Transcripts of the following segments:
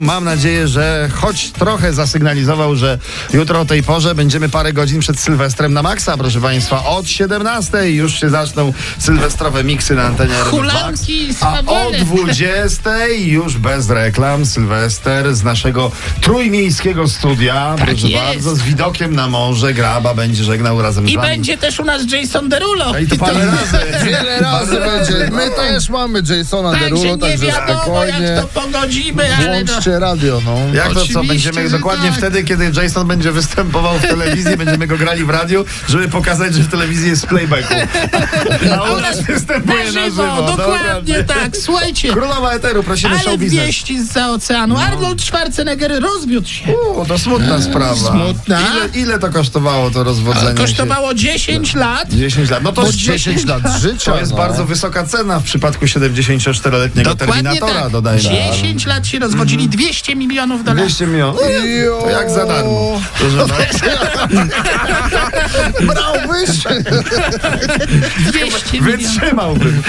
Mam nadzieję, że choć trochę zasygnalizował, że jutro o tej porze będziemy parę godzin przed Sylwestrem na maksa, proszę Państwa. Od 17 już się zaczną sylwestrowe miksy na antenie RMF Max. Hulanki, A o swawole. 20 już bez reklam Sylwester z naszego trójmiejskiego studia. proszę Tak jest. bardzo, z widokiem na morze Graba będzie żegnał razem z I nami. będzie też u nas Jason Derulo. I to parę razy. Wiele razy będzie. My też mamy Jasona Także Derulo, nie także wiadomo jak spokojnie. to pogodzimy, ale no. Włączcie radio, no. Jak to co? Oczywiście, Będziemy że dokładnie tak. wtedy, kiedy Jason będzie występował w telewizji, będziemy go grali w radiu, żeby pokazać, że w telewizji jest w playbacku. A u nas Na występuje na żywo, żywo. dokładnie Dobra. tak, słuchajcie. Królowa Eteru, prosimy show Ale biznes. wieści z oceanu. Arnold Schwarzenegger rozwiódł się. No. U, to smutna sprawa. Tak, smutna. Ile, ile to kosztowało to rozwodzenie? się? Kosztowało 10 lat. 10 lat. No to Bo jest 10 lat życia. To jest no. bardzo wysoka cena w przypadku 74-letniego Dokładnie Terminatora, tak. dodajmy. Mhm. 10 lat się rozwodzili, 200 milionów dolarów. 200 milionów. Jo. To No jak za darmo. Proszę bardzo. Brałbyś, 200 milionów. Wytrzymałbym.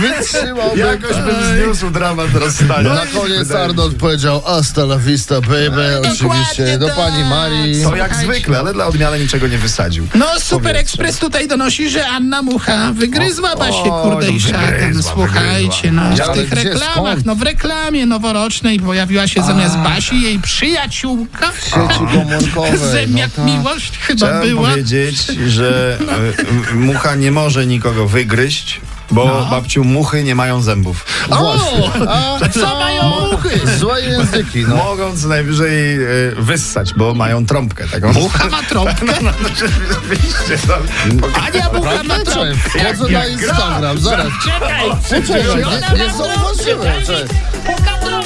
wytrzymałby. Jakoś bym zniósł dramat rozstania. Na koniec No Wydaje mi się. Arnold powiedział hasta la vista, baby, oczywiście, do tak. pani Marii. To jak Słuchajcie. zwykle, ale dla odmiany niczego nie wysadził. No, Super Express tutaj donosi, że Anna Mucha wygryzła Basię o, kurde i no, szatan. wygryzła, Słuchajcie, no, wygryzła. w Ale tych gdzie, reklamach, skąd? no w reklamie noworocznej pojawiła się zamiast Basi jej przyjaciółka. Sieci komórkowe. tak. Zem jak tak. miłość no chyba Chciałem była. powiedzieć, że e, m- mucha nie może nikogo wygryźć, bo babciu muchy nie mają zębów. No. O, A, co mają muchy? Złe języki, no. Mogą co najwyżej e, wyssać, bo mają trąbkę taką. Mucha ma trąbkę. No, no, rzeczywiście, no. Ania Tak, Mucha ma Czekaj, trąbkę. wchodzę na Instagram, zaraz. Czekaj, Czekaj, nie, nie zauważyłem, Mucha czekaj. trąbkę.